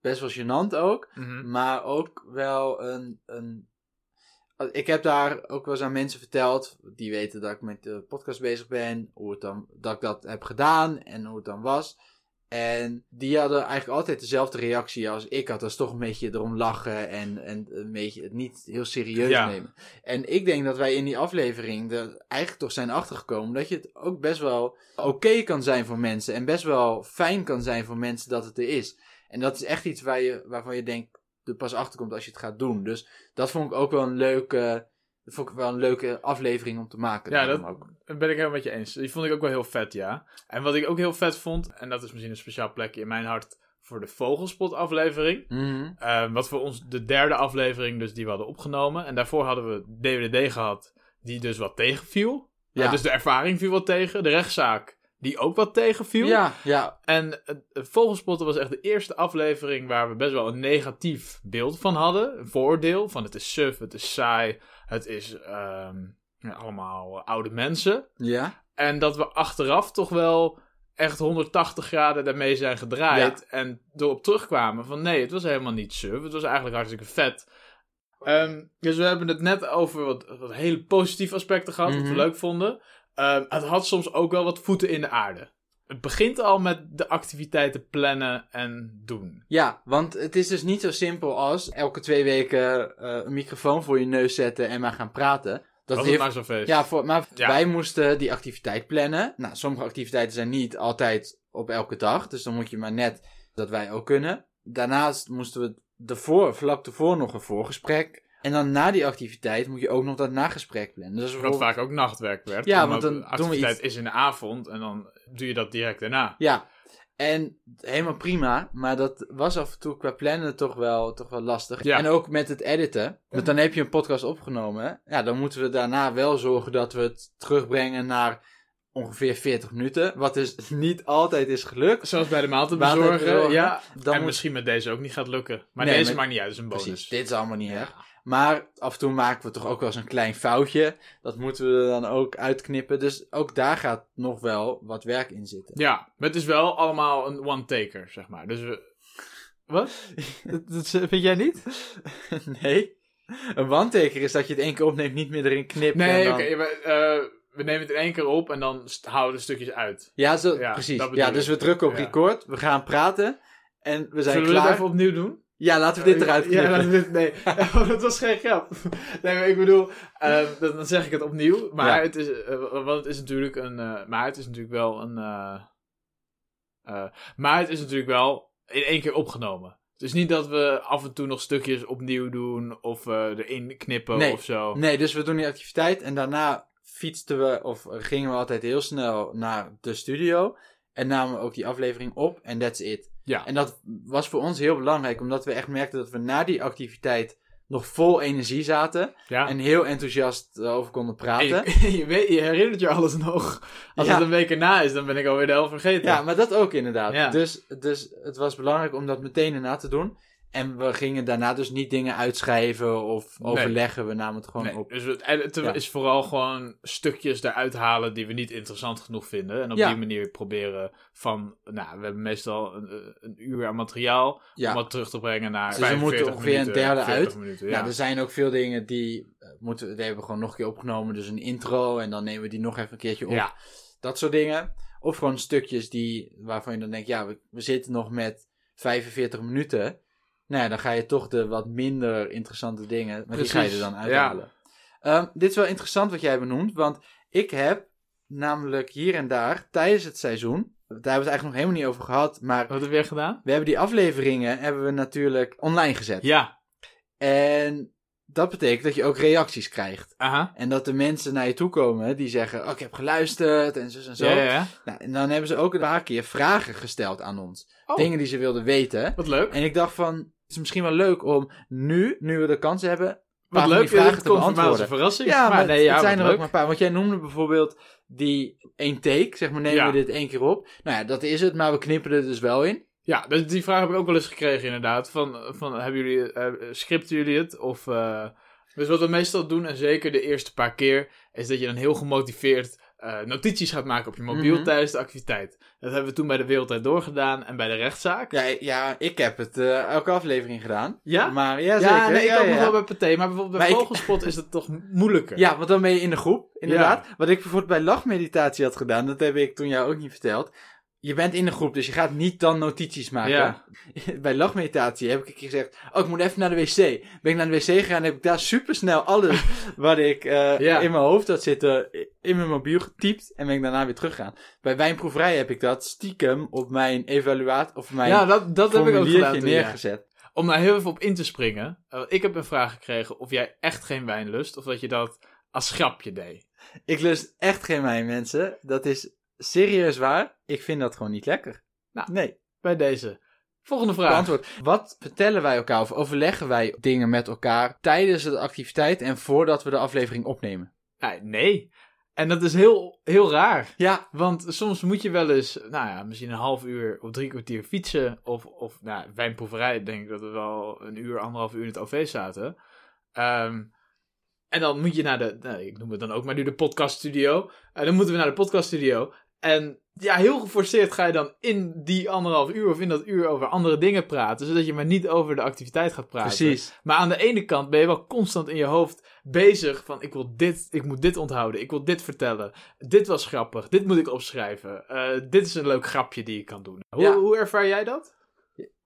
best wel gênant ook, Mhm. maar ook wel een, een. Ik heb daar ook wel eens aan mensen verteld, die weten dat ik met de podcast bezig ben, hoe het dan, dat ik dat heb gedaan en hoe het dan was. En die hadden eigenlijk altijd dezelfde reactie als ik had. Dat is toch een beetje erom lachen en, en een beetje het niet heel serieus Ja. nemen. En ik denk dat wij in die aflevering er eigenlijk toch zijn achtergekomen dat je het ook best wel oké kan zijn voor mensen. En best wel fijn kan zijn voor mensen dat het er is. En dat is echt iets waar je, waarvan je denkt er pas achter komt als je het gaat doen. Dus dat vond ik ook wel een leuke, dat vond ik wel een leuke aflevering om te maken. Ja, daarom dat- ook. Dat ben ik helemaal met je eens. Die vond ik ook wel heel vet, ja. En wat ik ook heel vet vond, en dat is misschien een speciaal plekje in mijn hart voor de Vogelspot aflevering. Mhm. Eh, wat voor ons de derde aflevering, dus die we hadden opgenomen. En daarvoor hadden we DWDD gehad, die dus wat tegenviel. Ja. Ja. dus de ervaring viel wat tegen. De rechtszaak, die ook wat tegenviel. ja, ja, En eh, Vogelspotten was echt de eerste aflevering waar we best wel een negatief beeld van hadden. Een vooroordeel van het is suf, het is saai, het is ehm, ja, allemaal eh, oude mensen. ja. En dat we achteraf toch wel echt 180 graden daarmee zijn gedraaid. En erop terugkwamen van nee, het was helemaal niet suf. Het was eigenlijk hartstikke vet. Ehm, dus we hebben het net over wat, wat hele positieve aspecten gehad. Wat Mhm. we leuk vonden. Ehm, het had soms ook wel wat voeten in de aarde. Het begint al met de activiteiten plannen en doen. Ja, want het is dus niet zo simpel als elke twee weken eh, een microfoon voor je neus zetten en maar gaan praten. Dat Dat was heeft- het maar zo'n feest. ja, voor, maar Ja. wij moesten die activiteit plannen. Nou, sommige activiteiten zijn niet altijd op elke dag, dus dan moet je maar net dat wij ook kunnen. Daarnaast moesten we ervoor, vlak ervoor nog een voorgesprek. En dan na die activiteit moet je ook nog dat nagesprek plannen. Dus Wat bijvoorbeeld- vaak ook nachtwerk werd. Ja, omdat want dan doen de we activiteit iets- is in de avond en dan doe je dat direct daarna. Ja, en helemaal prima, maar dat was af en toe qua plannen toch wel, toch wel lastig. Ja. En ook met het editen, want dan heb je een podcast opgenomen. Ja, dan moeten we daarna wel zorgen dat we het terugbrengen naar ongeveer 40 minuten. Wat dus niet altijd is gelukt. Zoals bij de maaltijd Maaltijd bezorgen. bezorgen. Ja, Dan en moet- misschien met deze ook niet gaat lukken. Maar Nee, deze maar- maakt niet uit, dat is een bonus. Precies, dit is allemaal niet Ja. erg. Maar af en toe maken we toch ook wel eens een klein foutje. Dat moeten we er dan ook uitknippen. Dus ook daar gaat nog wel wat werk in zitten. Ja, maar het is wel allemaal een one-taker, zeg maar. Dus we... Wat? dat, dat vind jij niet? nee. Een wandteken is dat je het één keer opneemt, niet meer erin knipt. en Nee, dan- oké. we, eh, we nemen het in één keer op en dan st- houden we stukjes uit. Ja, zo, Ja, precies. dat bedoel Ja, dus ik. we drukken op Ja. record, we gaan praten en we zijn Zullen we klaar. het even opnieuw doen? Ja, laten we dit eruit Ja, knippen. laten we dit- nee, Oh, dat was geen grap. Nee, maar ik bedoel, eh, dan, dan zeg ik het opnieuw. Maar Ja. het, is, eh, want het is natuurlijk een... eh, maar het is natuurlijk wel een... eh, eh, maar het is natuurlijk wel in één keer opgenomen. Het is niet dat we af en toe nog stukjes opnieuw doen of eh, erin knippen Nee. of zo. Nee, dus we doen die activiteit en daarna fietsten we of gingen we altijd heel snel naar de studio en namen we ook die aflevering op en that's it. Ja. En dat was voor ons heel belangrijk, omdat we echt merkten dat we na die activiteit nog vol energie zaten Ja. en heel enthousiast eh, over konden praten. Hey, je, je weet, je herinnert je alles nog. Als Ja. het een week erna is, dan ben ik alweer de helft vergeten. Ja, maar dat ook inderdaad. Ja. Dus, dus het was belangrijk om dat meteen erna te doen. En we gingen daarna dus niet dingen uitschrijven of Nee. overleggen. We namen het gewoon Nee, op. dus het, en het Ja. is vooral gewoon stukjes eruit halen die we niet interessant genoeg vinden. En op Ja. die manier proberen van, nou, we hebben meestal een, eh, een uur aan materiaal Ja. om dat terug te brengen naar Dus er moet 45 ongeveer een minuten, derde 40 uit. minuten, ja. Nou, er zijn ook veel dingen die, eh, moeten, we- die hebben we gewoon nog een keer opgenomen. Dus een intro en dan nemen we die nog even een keertje op. Ja. Dat soort dingen. Of gewoon stukjes die, waarvan je dan denkt, ja, we, we zitten nog met 45 minuten. Nou ja, dan ga je toch de wat minder interessante dingen, maar die ga je Precies, er dan ja. uithalen. Ehm, dit is wel interessant wat jij benoemt, want ik heb namelijk hier en daar tijdens het seizoen daar hebben we het eigenlijk nog helemaal niet over gehad. Maar Wat hebben we weer gedaan? we hebben die afleveringen hebben we natuurlijk online gezet. Ja. En dat betekent dat je ook reacties krijgt. Aha. En dat de mensen naar je toe komen die zeggen: oh, Ik heb geluisterd en zo en zo. Ja, ja, ja. Nou, en dan hebben ze ook een paar keer vragen gesteld aan ons. Oh. Dingen die ze wilden weten. Wat leuk. En ik dacht van, het is misschien wel leuk om nu, nu we de kans hebben, een paar Wat van leuk. die vragen Het te komt voor mij als een beantwoorden. verrassing. Ja, maar nee, het- ja, het wat zijn er ook leuk. maar een paar. Want jij noemde bijvoorbeeld die één take, zeg maar, nemen Ja. we dit één keer op. Nou ja, dat is het, maar we knippen er dus wel in. Ja, dus die vraag heb ik ook wel eens gekregen inderdaad. Van, van hebben jullie, eh, scripten jullie het? Of, eh, dus wat we meestal doen, en zeker de eerste paar keer, is dat je dan heel gemotiveerd eh, notities gaat maken op je mobiel Mhm. tijdens de activiteit. Dat hebben we toen bij de Wereldtijd doorgedaan en bij de rechtszaak. Ja, ja ik heb het eh, elke aflevering gedaan. Ja? Maar ja, Ja, zeker. nee, ik ja, ook ja. nog wel bij Pathé, maar bijvoorbeeld bij Maar ik- Vogelspot is het toch moeilijker. Ja, want dan ben je in de groep, inderdaad. Wat ik bijvoorbeeld bij lachmeditatie had gedaan, dat heb ik toen jou ook niet verteld. Je bent in de groep, dus je gaat niet dan notities maken. Ja. Bij lachmeditatie heb ik een keer gezegd, oh, ik moet even naar de wc. Ben ik naar de wc gegaan en heb ik daar supersnel alles wat ik eh, Ja. in mijn hoofd had zitten, in mijn mobiel getypt en ben ik daarna weer teruggegaan. Bij wijnproeverij heb ik dat stiekem op mijn evaluaat of mijn Ja, dat, dat heb ik ook formuliertje gedaan. toen, ja. neergezet. Om daar heel even op in te springen. eh, ik heb een vraag gekregen of jij echt geen wijn lust, of dat je dat als grapje deed. Ik lust echt geen wijn, mensen. Dat is serieus waar. Ik vind dat gewoon niet lekker. Nou, nee. Bij deze. Volgende vraag. Beantwoord. Wat vertellen wij elkaar of overleggen wij dingen met elkaar tijdens de activiteit en voordat we de aflevering opnemen? Nee, nee. En dat is heel, heel raar. Ja, Want soms moet je wel eens, nou ja, misschien een half uur of drie kwartier fietsen. Of, of nou, wijnproeverij, denk ik dat we wel een uur, anderhalf uur in het OV zaten. Ehm, en dan moet je naar de, nou, ik noem het dan ook maar nu de podcaststudio. En dan moeten we naar de podcaststudio. En ja, heel geforceerd ga je dan in die anderhalf uur of in dat uur over andere dingen praten. Zodat je maar niet over de activiteit gaat praten. precies. Maar aan de ene kant ben je wel constant in je hoofd bezig van ik wil dit, ik moet dit onthouden, ik wil dit vertellen, dit was grappig, dit moet ik opschrijven, eh, dit is een leuk grapje die ik kan doen. Hoe, Ja. hoe ervaar jij dat?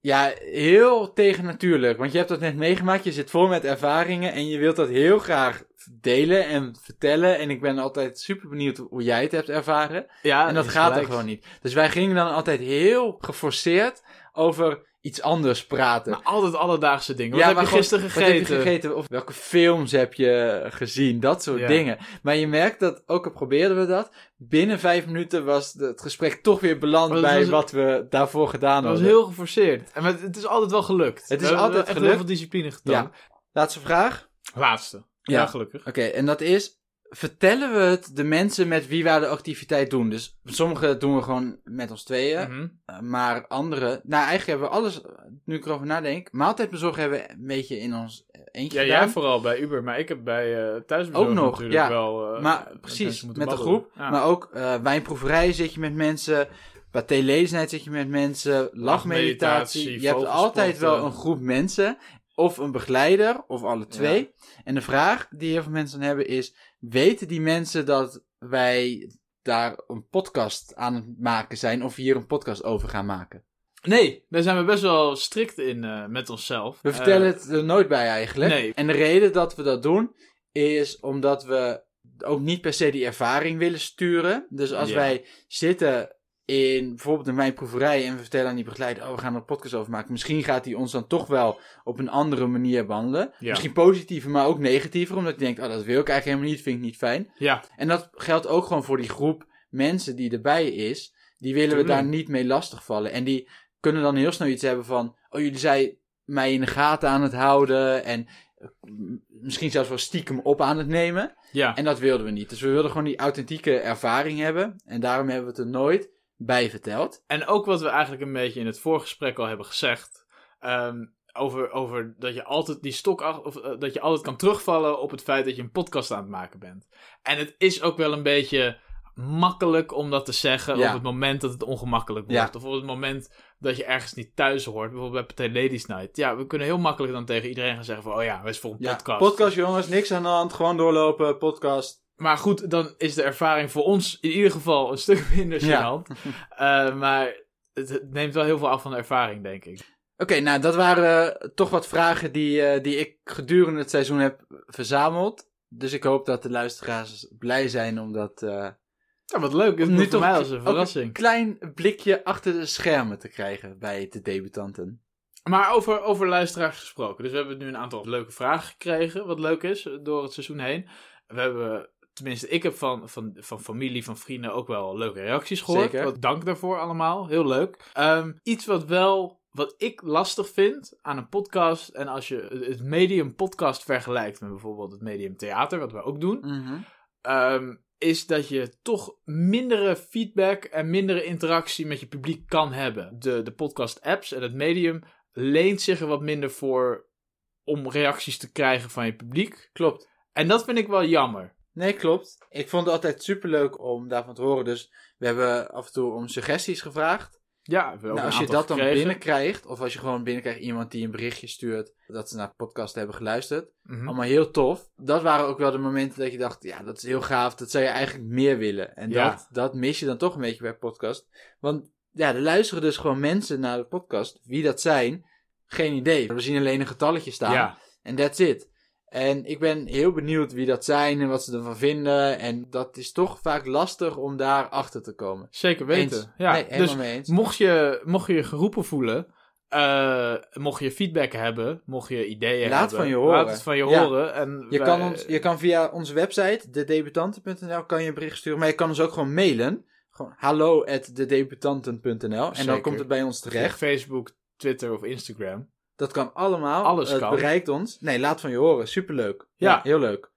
Ja, heel tegennatuurlijk, want je hebt dat net meegemaakt. Je zit vol met ervaringen en je wilt dat heel graag delen en vertellen. En ik ben altijd super benieuwd hoe jij het hebt ervaren. Ja, En dat gaat er gewoon niet. Dus wij gingen dan altijd heel geforceerd over iets anders praten. Maar altijd alledaagse dingen. Wat Ja, heb maar je gewoon, gisteren Wat heb gegeten? je gegeten? Of welke films heb je gezien? Dat soort Ja. dingen. Maar je merkt dat, ook al probeerden we dat, binnen vijf minuten was de- het gesprek toch weer beland Maar dat bij was- wat we daarvoor Dat gedaan was hadden. heel geforceerd. En het, het is altijd wel gelukt. Het is We hebben altijd echt gelukt. heel veel discipline getoond. Laatste vraag. Laatste. Ja, Ja. gelukkig. Oké, en dat is, vertellen we het de mensen met wie wij de activiteit doen? Dus sommige doen we gewoon met ons tweeën, Mhm. eh, maar andere... Nou, eigenlijk hebben we alles, eh, nu ik erover nadenk, maaltijdbezorg hebben we een beetje in ons eh, eentje Ja, jij gedaan. vooral bij Uber, maar ik heb bij eh Ook thuisbezorgd nog, natuurlijk ja. wel... eh, maar met precies, mensen met moeten de babbelen. groep. Ja. Maar ook eh wijnproeverij zit je met mensen. Bij telezenheid zit je met mensen. Lachmeditatie. Je hebt vogelsporten. altijd wel een groep mensen. Of een begeleider, of alle twee. En de vraag die heel veel mensen dan hebben is: weten die mensen dat wij daar een podcast aan het maken zijn? Of hier een podcast over gaan maken? Nee, daar zijn we best wel strikt in eh, met onszelf. We vertellen Eh, het er nooit bij eigenlijk. nee. En de reden dat we dat doen is omdat we ook niet per se die ervaring willen sturen. Dus als Ja. wij zitten in bijvoorbeeld een wijnproeverij en we vertellen aan die begeleider, oh we gaan er een podcast over maken. Misschien gaat hij ons dan toch wel op een andere manier behandelen. Ja. Misschien positiever, maar ook negatiever. Omdat hij denkt, oh dat wil ik eigenlijk helemaal niet, vind ik niet fijn. Ja, En dat geldt ook gewoon voor die groep mensen die erbij is. Die willen we Tuurlijk. daar niet mee lastigvallen. En die kunnen dan heel snel iets hebben van... Oh, jullie zijn mij in de gaten aan het houden. En eh, m- misschien zelfs wel stiekem op aan het nemen. ja. En dat wilden we niet. Dus we wilden gewoon die authentieke ervaring hebben. En daarom hebben we het er nooit bij verteld. En ook wat we eigenlijk een beetje in het voorgesprek al hebben gezegd. ehm, over, over dat je altijd die stok ach- of, eh, dat je altijd kan terugvallen op het feit dat je een podcast aan het maken bent. En het is ook wel een beetje makkelijk om dat te zeggen Ja. op het moment dat het ongemakkelijk Ja. wordt. Of op het moment dat je ergens niet thuis hoort. Bijvoorbeeld bij Pathé Ladies Night. Ja, we kunnen heel makkelijk dan tegen iedereen gaan zeggen van... Oh ja, we is voor een Ja, podcast. podcast jongens, niks aan de hand. Gewoon doorlopen, podcast. Maar goed, dan is de ervaring voor ons in ieder geval een stuk minder gênant. Ja. Eh, maar het, het neemt wel heel veel af van de ervaring, denk ik. Oké, nou dat waren eh, toch wat vragen die, eh, die ik gedurende het seizoen heb verzameld. Dus ik hoop dat de luisteraars blij zijn om dat eh, Ja, wat leuk. Het Om nu voor toch mij als ook een verrassing. klein blikje achter de schermen te krijgen bij de debutanten. Maar over, over luisteraars gesproken. Dus we hebben nu een aantal leuke vragen gekregen, wat leuk is, door het seizoen heen. We hebben, tenminste, ik heb van, van, van familie, van vrienden ook wel leuke reacties gehoord. Zeker. Wat dank daarvoor allemaal, heel leuk. Ehm, iets wat wel, wat ik lastig vind aan een podcast, en als je het medium podcast vergelijkt met bijvoorbeeld het medium theater, wat we ook doen, ehm, is dat je toch mindere feedback en mindere interactie met je publiek kan hebben. De, de podcast-apps en het medium leent zich er wat minder voor om reacties te krijgen van je publiek. Klopt. En dat vind ik wel jammer. Nee, klopt. Ik vond het altijd superleuk om daarvan te horen. Dus we hebben af en toe om suggesties gevraagd. Ja, we hebben ook Nou, een als je aantal dat dan gekregen. binnenkrijgt, of als je gewoon binnenkrijgt iemand die een berichtje stuurt dat ze naar de podcast hebben geluisterd. Mhm. Allemaal heel tof. Dat waren ook wel de momenten dat je dacht, ja, dat is heel gaaf. Dat zou je eigenlijk meer willen. En Ja. dat, dat mis je dan toch een beetje bij podcast. Want ja, er luisteren dus gewoon mensen naar de podcast. Wie dat zijn, geen idee. We zien alleen een getalletje staan. Ja, En that's it. En ik ben heel benieuwd wie dat zijn en wat ze ervan vinden. En dat is toch vaak lastig om daar achter te komen. zeker weten. Eens. Ja, nee, helemaal dus mee eens. Mocht je, mocht je je geroepen voelen, eh, mocht je feedback hebben, mocht je ideeën Laat hebben, van je horen. laat het van je Ja. horen. En Je wij- kan, ons, je kan via onze website, dedebutanten.nl, kan je een bericht sturen. Maar je kan ons ook gewoon mailen. Gewoon hallo at dedebutanten.nl. En Zeker. dan komt het bij ons terecht. Facebook, Twitter of Instagram. Dat kan allemaal. Alles het kan. bereikt ons. Nee, laat van je horen. Superleuk. Ja. heel leuk.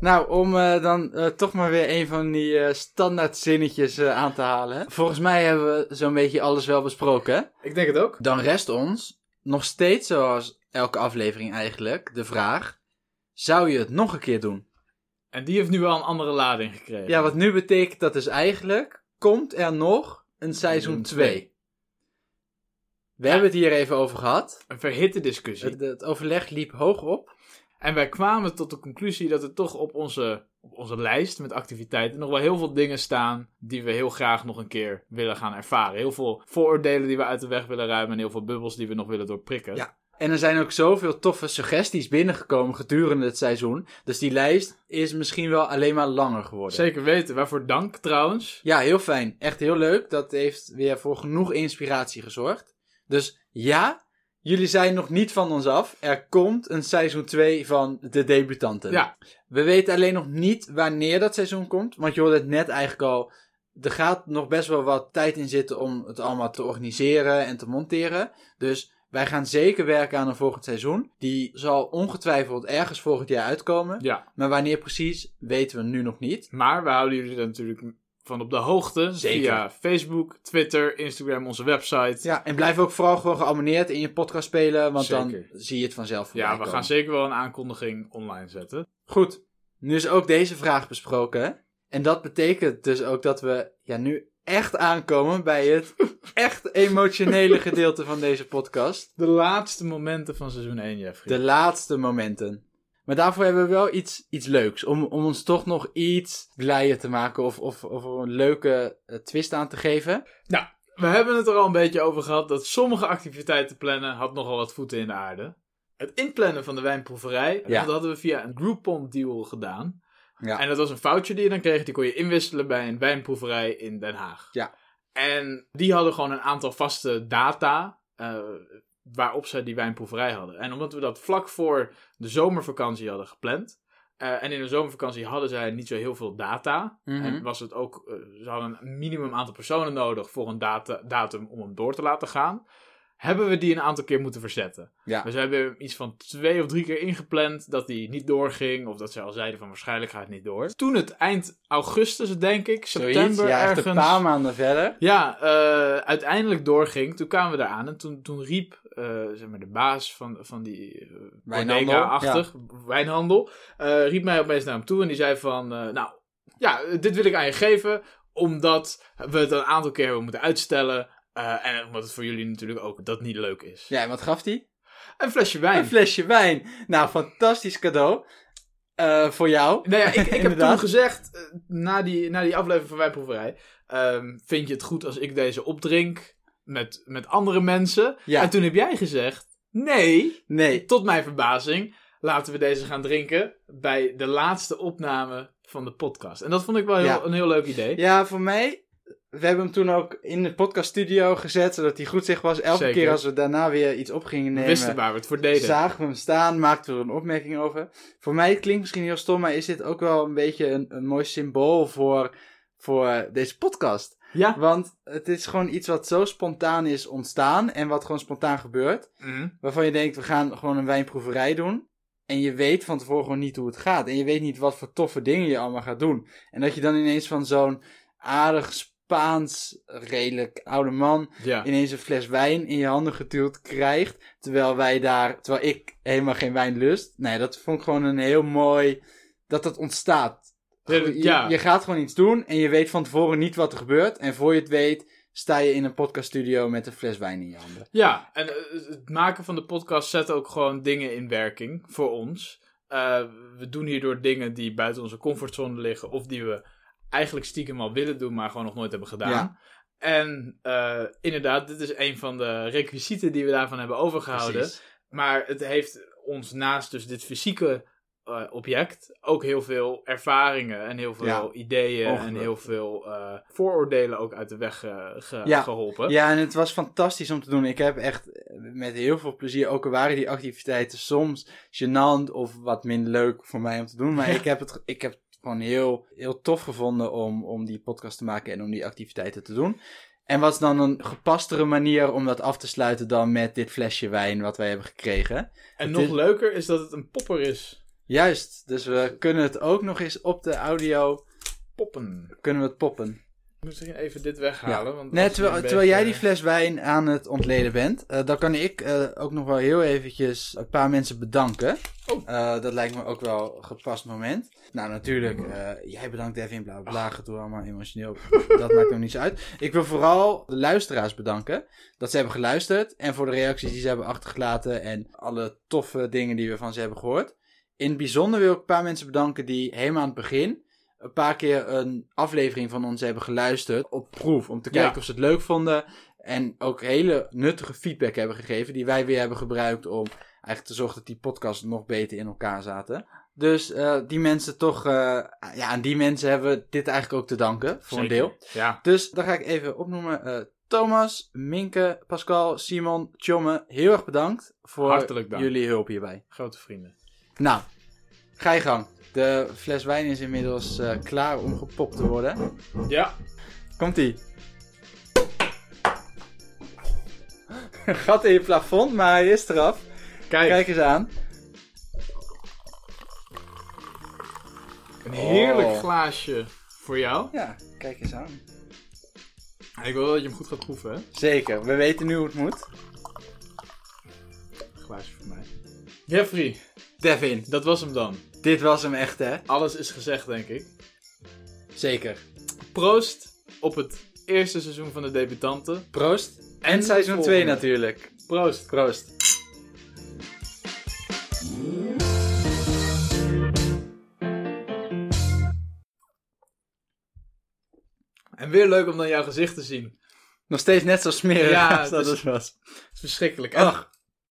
Nou, om eh, dan eh, toch maar weer een van die eh, standaard zinnetjes eh, aan te halen. hè. Volgens mij hebben we zo'n beetje alles wel besproken. hè? Ik denk het ook. Dan rest ons, nog steeds zoals elke aflevering eigenlijk, de vraag. Zou je het nog een keer doen? En die heeft nu wel een andere lading gekregen. Ja, wat nu betekent dat dus eigenlijk, komt er nog een seizoen Seizoen 2? We hebben het hier even over gehad. Een verhitte discussie. Het, het overleg liep hoog op. En wij kwamen tot de conclusie dat er toch op onze, op onze lijst met activiteiten nog wel heel veel dingen staan die we heel graag nog een keer willen gaan ervaren. Heel veel vooroordelen die we uit de weg willen ruimen en heel veel bubbels die we nog willen doorprikken. Ja. En er zijn ook zoveel toffe suggesties binnengekomen gedurende het seizoen. Dus die lijst is misschien wel alleen maar langer geworden. Zeker weten. Waarvoor dank trouwens. Ja, heel fijn. Echt heel leuk. Dat heeft weer voor genoeg inspiratie gezorgd. Dus ja, jullie zijn nog niet van ons af. Er komt een seizoen 2 van De Debutanten. Ja. We weten alleen nog niet wanneer dat seizoen komt. Want je hoorde het net eigenlijk al. Er gaat nog best wel wat tijd in zitten om het allemaal te organiseren en te monteren. Dus wij gaan zeker werken aan een volgend seizoen. Die zal ongetwijfeld ergens volgend jaar uitkomen. Ja. Maar wanneer precies, weten we nu nog niet. Maar we houden jullie er natuurlijk van op de hoogte. Zeker. Via Facebook, Twitter, Instagram, onze website. Ja, en blijf ook vooral gewoon geabonneerd in je podcast spelen, want Zeker. dan zie je het vanzelf voorbij Ja, we komen. gaan zeker wel een aankondiging online zetten. Goed, nu is ook deze vraag besproken. hè? En dat betekent dus ook dat we ja, nu echt aankomen bij het echt emotionele gedeelte van deze podcast. De laatste momenten van seizoen 1, Jeffrey. De laatste momenten. Maar daarvoor hebben we wel iets, iets leuks. Om, om ons toch nog iets blijer te maken of, of, of er een leuke eh, twist aan te geven. We hebben het er al een beetje over gehad dat sommige activiteiten plannen had nogal wat voeten in de aarde. Het inplannen van de wijnproeverij, Ja. dat hadden we via een Groupon deal gedaan. Ja. En dat was een foutje die je dan kreeg, die kon je inwisselen bij een wijnproeverij in Den Haag. Ja. En die hadden gewoon een aantal vaste data eh, waarop zij die wijnproeverij hadden. En omdat we dat vlak voor de zomervakantie hadden gepland. eh, en in de zomervakantie hadden zij niet zo heel veel data. Mhm. En was het ook, eh, ze hadden een minimum aantal personen nodig voor een data- datum om hem door te laten gaan. Hebben we die een aantal keer moeten verzetten. Ja. Dus we hebben hem iets van twee of drie keer ingepland dat die niet doorging. Of dat zij al zeiden van waarschijnlijk gaat het niet door. Toen het eind augustus, denk ik, september Zoiets, ja, echt ergens. een paar maanden verder. Ja, eh, uiteindelijk doorging. Toen kwamen we eraan en toen, toen riep eh, zeg maar de baas van, van die eh, Wijnhandel, Bodega-achtig wijnhandel, eh, riep mij opeens naar hem toe en die zei van, eh, nou, ja, dit wil ik aan je geven, omdat we het een aantal keer hebben moeten uitstellen eh, en omdat het voor jullie natuurlijk ook dat niet leuk is. Ja, en wat gaf die? Een flesje Een wijn. flesje wijn. Nou, fantastisch cadeau. Eh, voor jou. Nou ja, ik, ik heb toen Inderdaad. gezegd, eh, na die, na die aflevering van Wijnproeverij, ehm, vind je het goed als ik deze opdrink met, met andere mensen? Ja. En toen heb jij gezegd, nee, Nee. tot mijn verbazing, laten we deze gaan drinken bij de laatste opname van de podcast. En dat vond ik wel heel, Ja. een heel leuk idee. Ja, voor mij. We hebben hem toen ook in de podcaststudio gezet, zodat hij goed zicht was. Elke Zeker. keer als we daarna weer iets op gingen we nemen, wisten waar we het voor deden. zagen we hem staan, maakten we er een opmerking over. Voor mij het klinkt misschien heel stom, maar is dit ook wel een beetje een, een mooi symbool voor, voor deze podcast. ja. Want het is gewoon iets wat zo spontaan is ontstaan en wat gewoon spontaan gebeurt. Mhm. Waarvan je denkt, we gaan gewoon een wijnproeverij doen. En je weet van tevoren gewoon niet hoe het gaat. En je weet niet wat voor toffe dingen je allemaal gaat doen. En dat je dan ineens van zo'n aardig Spaans, redelijk oude man. ja. ineens een fles wijn in je handen geduwd krijgt. Terwijl wij daar, terwijl ik helemaal geen wijn lust. Nee, dat vond ik gewoon een heel mooi. dat dat ontstaat. Ja, Je, ja. je gaat gewoon iets doen en je weet van tevoren niet wat er gebeurt. En voor je het weet, sta je in een podcaststudio met een fles wijn in je handen. Ja, en eh, het maken van de podcast zet ook gewoon dingen in werking voor ons. Eh, we doen hierdoor dingen die buiten onze comfortzone liggen, of die we eigenlijk stiekem al willen doen, maar gewoon nog nooit hebben gedaan. Ja. En eh, inderdaad, dit is een van de requisieten die we daarvan hebben overgehouden. Precies. Maar het heeft ons naast dus dit fysieke eh, object ook heel veel ervaringen en heel veel Ja. ideeën en Ongelooflijk. heel veel eh, vooroordelen ook uit de weg eh, ge- Ja. geholpen. Ja, en het was fantastisch om te doen. Ik heb echt eh, met heel veel plezier, ook al waren die activiteiten soms gênant of wat minder leuk voor mij om te doen. Maar Ja. ik heb het, ik heb het gewoon heel, heel tof gevonden om, om die podcast te maken en om die activiteiten te doen. En wat is dan een gepastere manier om dat af te sluiten dan met dit flesje wijn wat wij hebben gekregen? En Het nog is- leuker is dat het een popper is. Juist, dus we kunnen het ook nog eens op de audio, Poppen. kunnen we het poppen. Ik moet misschien even dit weghalen. Want Nee, als je terwijl, een terwijl jij die beetje- fles wijn aan het ontleden bent, eh, dan kan ik eh, ook nog wel heel eventjes een paar mensen bedanken. Oh. Eh, dat lijkt me ook wel een gepast moment. Nou, natuurlijk, eh, jij bedankt Devin, bla bla, bla, gedoe allemaal emotioneel. dat maakt nog niets uit. Ik wil vooral de luisteraars bedanken dat ze hebben geluisterd en voor de reacties die ze hebben achtergelaten en alle toffe dingen die we van ze hebben gehoord. In het bijzonder wil ik een paar mensen bedanken die helemaal aan het begin een paar keer een aflevering van ons hebben geluisterd op proef. Om te Ja. kijken of ze het leuk vonden. En ook hele nuttige feedback hebben gegeven. Die wij weer hebben gebruikt om eigenlijk te zorgen dat die podcasts nog beter in elkaar zaten. Dus eh, die mensen toch... eh, ja, aan die mensen hebben we dit eigenlijk ook te danken. Voor een deel. Zeker. Ja. Dus dan ga ik even opnoemen. eh, Thomas, Minke, Pascal, Simon, Tjomme. Heel erg bedankt voor Hartelijk dank. jullie hulp hierbij. Grote vrienden. Nou, ga je gang. De fles wijn is inmiddels eh, klaar om gepopt te worden. Ja. Komt-ie. Een Gat in je plafond, maar hij is eraf. Kijk, Kijk eens aan. een heerlijk Oh. glaasje voor jou. Ja, kijk eens aan. Ik wil wel dat je hem goed gaat proeven, hè? Zeker, we weten nu hoe het moet. Glaasje voor mij. Jeffrey, Devin, dat was hem dan. dit was hem echt, hè? Alles is gezegd, denk ik. Zeker. Proost op het eerste seizoen van de debutanten. Proost. En, En seizoen volgende. 2 natuurlijk. Proost. Proost. En weer leuk om dan jouw gezicht te zien. Nog steeds net zo smerig Ja, als dat dus- het was. Het is verschrikkelijk. Ach.